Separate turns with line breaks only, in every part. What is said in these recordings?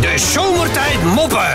De zomertijd moppen.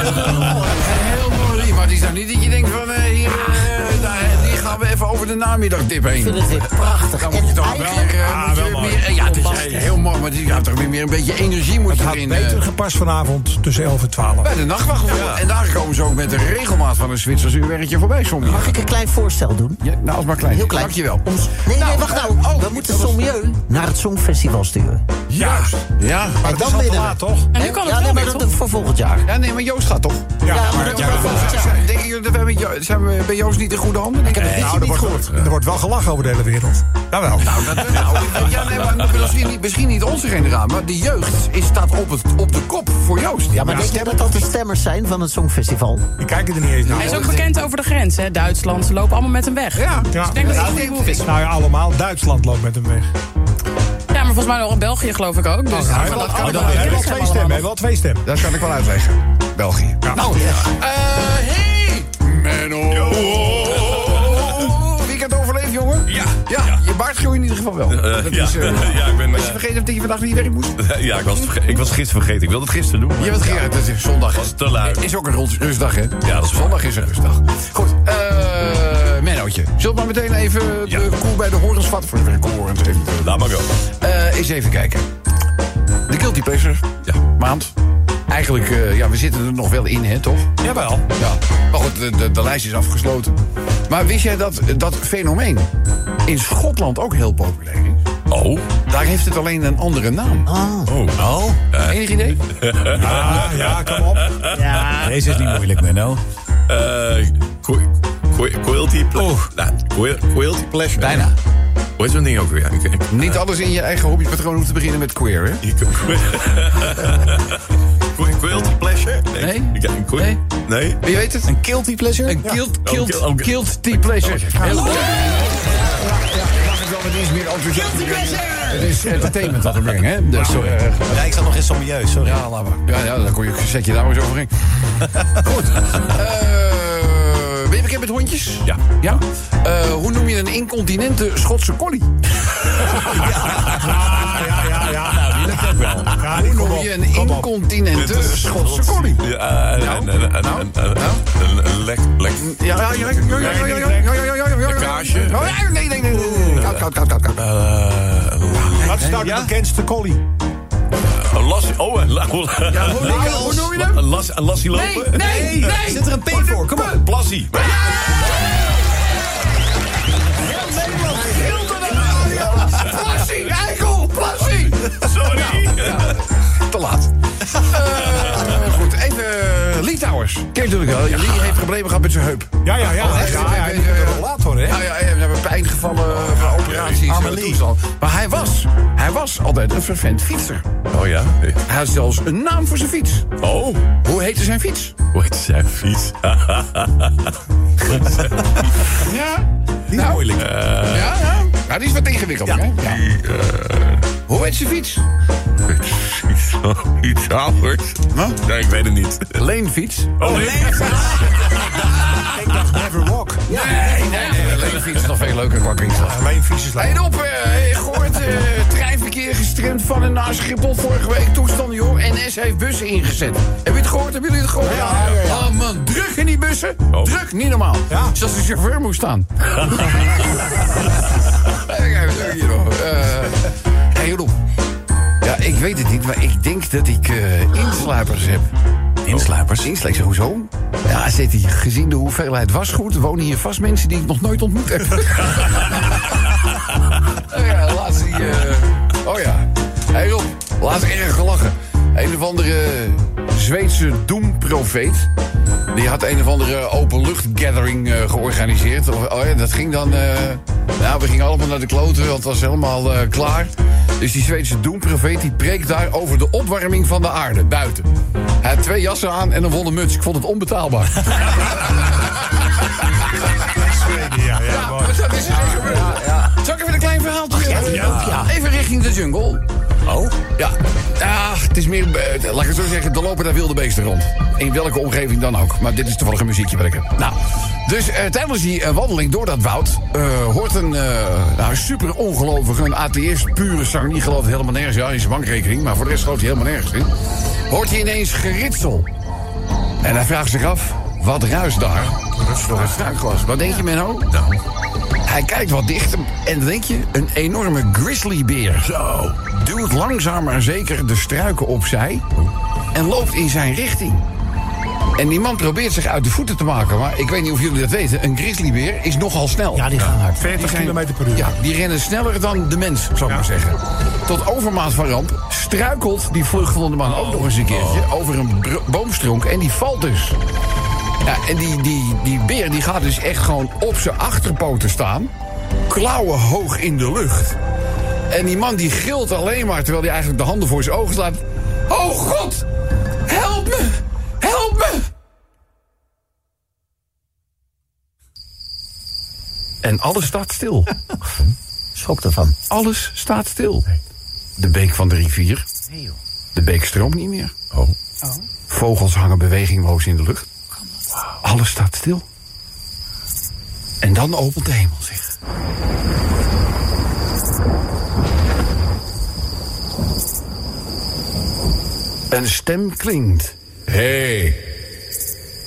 Heel mooi lied, maar het is nou niet dat je denkt van... eh, hier, eh, nou, eh, die gaan we even over de namiddagdip heen.
Ik vind het weer prachtig.
Dan moet je
En
toch wel
eigenlijk-
weer... eh, moet je weer meer- eh, ja, het is
Bombastisch.
heel, heel mooi, maar het is- ja, toch weer meer een beetje energie moet
Had
erin. eh,
beter gepast vanavond tussen 11 en 12.
bij de nachtwacht. En daar komen ze ook met de regelmaat van een Zwitsers uurwerkje voorbij soms.
Mag ik een klein voorstel doen?
Ja, nou, als maar klein.
Heel klein.
Dankjewel.
Om- nee, nee, wacht nou.
eh, oh,
we moeten Sommieu naar het Songfestival sturen.
Ja, ja.
En
Dat is al te laat, toch?
En nu kan het ja, nee, maar dat voor volgend jaar.
Ja, nee, maar Joost gaat toch?
Ja, maar dat kan volgend jaar.
Denken jullie dat wij met Jo- zijn we bij Joost niet in goede handen? Ik heb het
Nou,
niet
er wordt,
gehoord.
er wordt wel gelachen over de hele wereld. Jawel.
Dat- nou, ja, nee, maar misschien niet, misschien niet onze generatie, maar de jeugd is, staat op, het, op de kop voor Joost.
Ja, maar denk je dat dat de stemmers zijn van het Songfestival?
Die kijken er niet eens naar.
Nou.
Hij is ook bekend over de grens, hè? Duitsland. Ze lopen allemaal met hem weg.
Ja.
Ja.
Ik denk dat
Ja,
hij
ik-
goed is.
Nou ja, allemaal. Duitsland loopt met hem weg.
Oh,
Ja, maar volgens mij nog in België, geloof ik ook. Dus
Ah, Hij
dat
heeft
kan
wel-
ik wel
hij heeft wel
uitleggen.
twee stemmen. Hij heeft wel twee stemmen.
Dat kan ik wel uitleggen. België. Nou, eh hey! Menno! Weekend overleefd, jongen?
Ja.
Ja,
Ja.
je baard groeit in ieder geval wel.
Eh,
Dat
ja.
is, eh,
ja, ik ben.
Was je
eh,
vergeten dat je vandaag niet werk moest?
ja, ik was, het verge- ik was gisteren vergeten. Ik wilde het gisteren doen. maar-
Je bent
Ja,
Gerard, het is zondag.
was eh, te lui.
Is ook een rust- rustdag, hè?
dat is waar.
Zondag is een rustdag. Goed, eh Mennootje. Zullen we maar meteen even
Ja.
de koe bij de horens vatten? Voor de koe horens even.
Laat maar go.
Eh, eens even kijken. De Guilty Pleasures.
Ja.
Maand. Eigenlijk, eh, ja, we zitten er nog wel in, hè, toch?
Jawel.
Ja. Maar goed, de, de, de lijst is afgesloten. Maar wist jij dat dat fenomeen in Schotland ook heel populair is?
Oh.
Daar heeft het alleen een andere naam.
Oh.
Oh? Enig idee?
Ah, ja, kom op.
Deze is niet moeilijk, Menno.
Eh, qu- qu- Quilty Pleasure. Nou, qu- Quilty Pleasure.
Bijna.
Hoe is zo'n ding ook weer? Ik- ik-
Niet alles in je eigen hobbypatroon hoeft te beginnen met queer, hè?
ik- qu- Quilty Pleasure?
Nee.
Ik- ik- qu-
Nee.
Nee.
Je weet het?
Een guilty pleasure?
Een kilt,
Oh,
kilt,
kilt- oh,
kilt die pleasure. Heel goed.
Guilty pleasure!
Het is entertainment wat we brengen, hè? Dus, eh,
Ja, ik zat nog in sommieu, sorry.
ja, laat maar. Ja, ja, dan kon je, zet je daar maar eens overheen. Goed. Eh, ben je bekend met hondjes?
Ja.
Ja? Eh, hoe noem je een incontinente Schotse collie?
Ja, ja, ja. ja. Nou, die lukt ook wel. Ja, die
Hoe
kom
noem
op.
je een
Kom op.
incontinente Schotse collie?
Ja, en- en- en- en- en-
Nou,
en- en- en- en- lek- lek-
Ja, ja, ja, ja, ja, ja, ja, ja, ja, ja, ja, ja, ja, ja.
kaasje.
Oh, ja, Nee, nee, nee, nee, nee. Koud, koud, koud, koud, koud.
Eh,
Wat is nou de bekendste collie?
een lassie- oh, een la-
Hoe hoe noem je hem?
een las- een lassie lopen?
Nee, nee.
Zit er een P voor? Kom op.
Plassie.
Plassie, eikel, plassie.
Sorry.
Te laat. Eh, goed, even eh, Lee Towers. Ken je natuurlijk wel. Lee heeft problemen gehad met zijn heup.
Ja, ja, ja.
Oh, echt?
ja, ja, die
Ik, eh,
wordt wel laat hoor, hè?
Nou ja, we hebben pijngevallen van operaties. en
Amelie.
toestand. Maar hij was, hij was altijd een vervent fietser.
Oh ja.
Hij had zelfs een naam voor zijn fiets.
Oh.
Hoe heette zijn fiets?
Hoe heet Ah, zijn fiets?
Ja. Nou,
Niet moeilijk.
Ja, ja. Nou, die is wat ingewikkeld, hè? Ja. eh, Hoe heet zijn fiets?
Oh, Iets anders.
Huh?
Nee, ik weet het niet.
Leenfiets.
Oh,
Ik dacht never walk.
Nee, nee, nee. Leenfiets is nog veel leuker qua kringslag.
Alleen vieze lijf.
En op, eh, gehoord, eh treinverkeer gestremd van en naar Schiphol vorige week. Toestanden, joh. NS heeft bussen ingezet. Heb je het gehoord? Hebben jullie het gehoord?
Ja, ja, ja.
Ah, man, druk in die bussen.
Oh.
Druk, niet normaal.
Ja.
Zoals de chauffeur moest staan. Even hier, hoor. Hé, Rob. Ja, ik weet het niet, maar ik denk dat ik eh insluipers heb.
Inslapers.
Inslex, hoezo? Ja, zit hij. Gezien de hoeveelheid wasgoed wonen hier vast mensen die ik nog nooit ontmoet heb. oh ja, laatst die. eh, oh ja. Hé hey Rob, laatst erg gelachen. Een of andere Zweedse doemprofeet. Die had een of andere openluchtgathering eh georganiseerd. Of- Oh ja, dat ging dan. eh, nou, we gingen allemaal naar de kloten, want het was helemaal eh, klaar. Dus die Zweedse doemprofeet die preekt daar over de opwarming van de aarde buiten. Hij had twee jassen aan en een wollen muts. Ik vond het onbetaalbaar.
Ja, ja,
Ja, maar dat is er gebeurd. Zal ik even een klein verhaal gehaald. weer.
ja.
Even richting de jungle.
Oh?
Ja, ja het is meer, eh, laat ik het zo zeggen, er lopen daar wilde beesten rond. In welke omgeving dan ook. Maar dit is toevallig een muziekje wat ik heb. Nou, dus eh, tijdens die eh, wandeling door dat woud... eh, hoort een eh, nou, super ongelovige, een ATS, pure zanger... die gelooft helemaal nergens, ja, in zijn bankrekening... maar voor de rest gelooft hij helemaal nergens in. Hoort hij ineens geritsel. En hij vraagt zich af, wat ruist daar? Dat is toch een struikglas. Wat denk je, Menno? Hij kijkt wat dichter en dan denk je, een enorme grizzlybeer. Zo. Duwt langzaam maar zeker de struiken opzij en loopt in zijn richting. En die man probeert zich uit de voeten te maken. Maar ik weet niet of jullie dat weten. Een grizzlybeer is nogal snel.
Ja, die gaan hard.
40
zijn-
kilometer per uur.
Ja, die rennen sneller dan de mens, zou ik maar zeggen. Tot overmaat van ramp struikelt die vluchtende man ook nog eens een keertje over een br- boomstronk en die valt dus. Ja, en die, die, die beer die gaat dus echt gewoon op zijn achterpoten staan, klauwen hoog in de lucht. En die man die gilt alleen maar terwijl hij eigenlijk de handen voor zijn ogen slaat. Oh god, help me, help me! En alles staat stil.
Schok ervan.
Alles staat stil. De beek van de rivier. De beek stroomt niet meer. Vogels hangen bewegingloos in de lucht. Alles staat stil. En dan opent de hemel zich. Een stem klinkt. Hé, hey,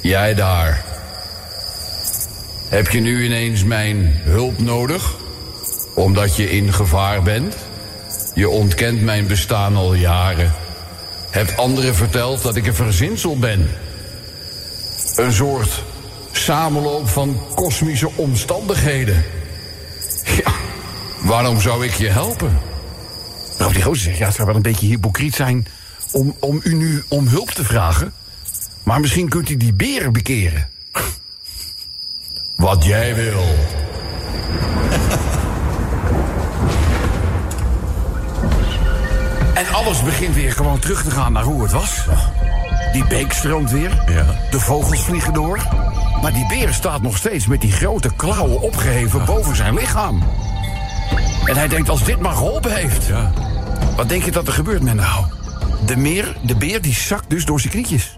jij daar. Heb je nu ineens mijn hulp nodig? Omdat je in gevaar bent? Je ontkent mijn bestaan al jaren. Hebt anderen verteld dat ik een verzinsel ben. Een soort samenloop van kosmische omstandigheden. Ja, waarom zou ik je helpen? Nou, die gozer zegt, ja, het zou wel een beetje hypocriet zijn... Om, om u nu om hulp te vragen. Maar misschien kunt u die beren bekeren. Wat jij wil. En alles begint weer gewoon terug te gaan naar hoe het was. Die beek stroomt weer. De vogels vliegen door. Maar die beer staat nog steeds met die grote klauwen opgeheven boven zijn lichaam. En hij denkt, als dit maar geholpen heeft. Wat denk je dat er gebeurt met nou? De, meer, de beer die zakt dus door zijn knietjes.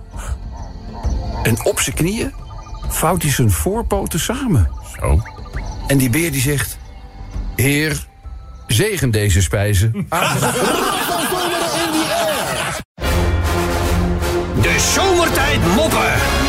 En op zijn knieën vouwt hij zijn voorpoten samen. Zo. En die beer die zegt... Heer, zegen deze spijzen. Ah.
De zomertijd moppen.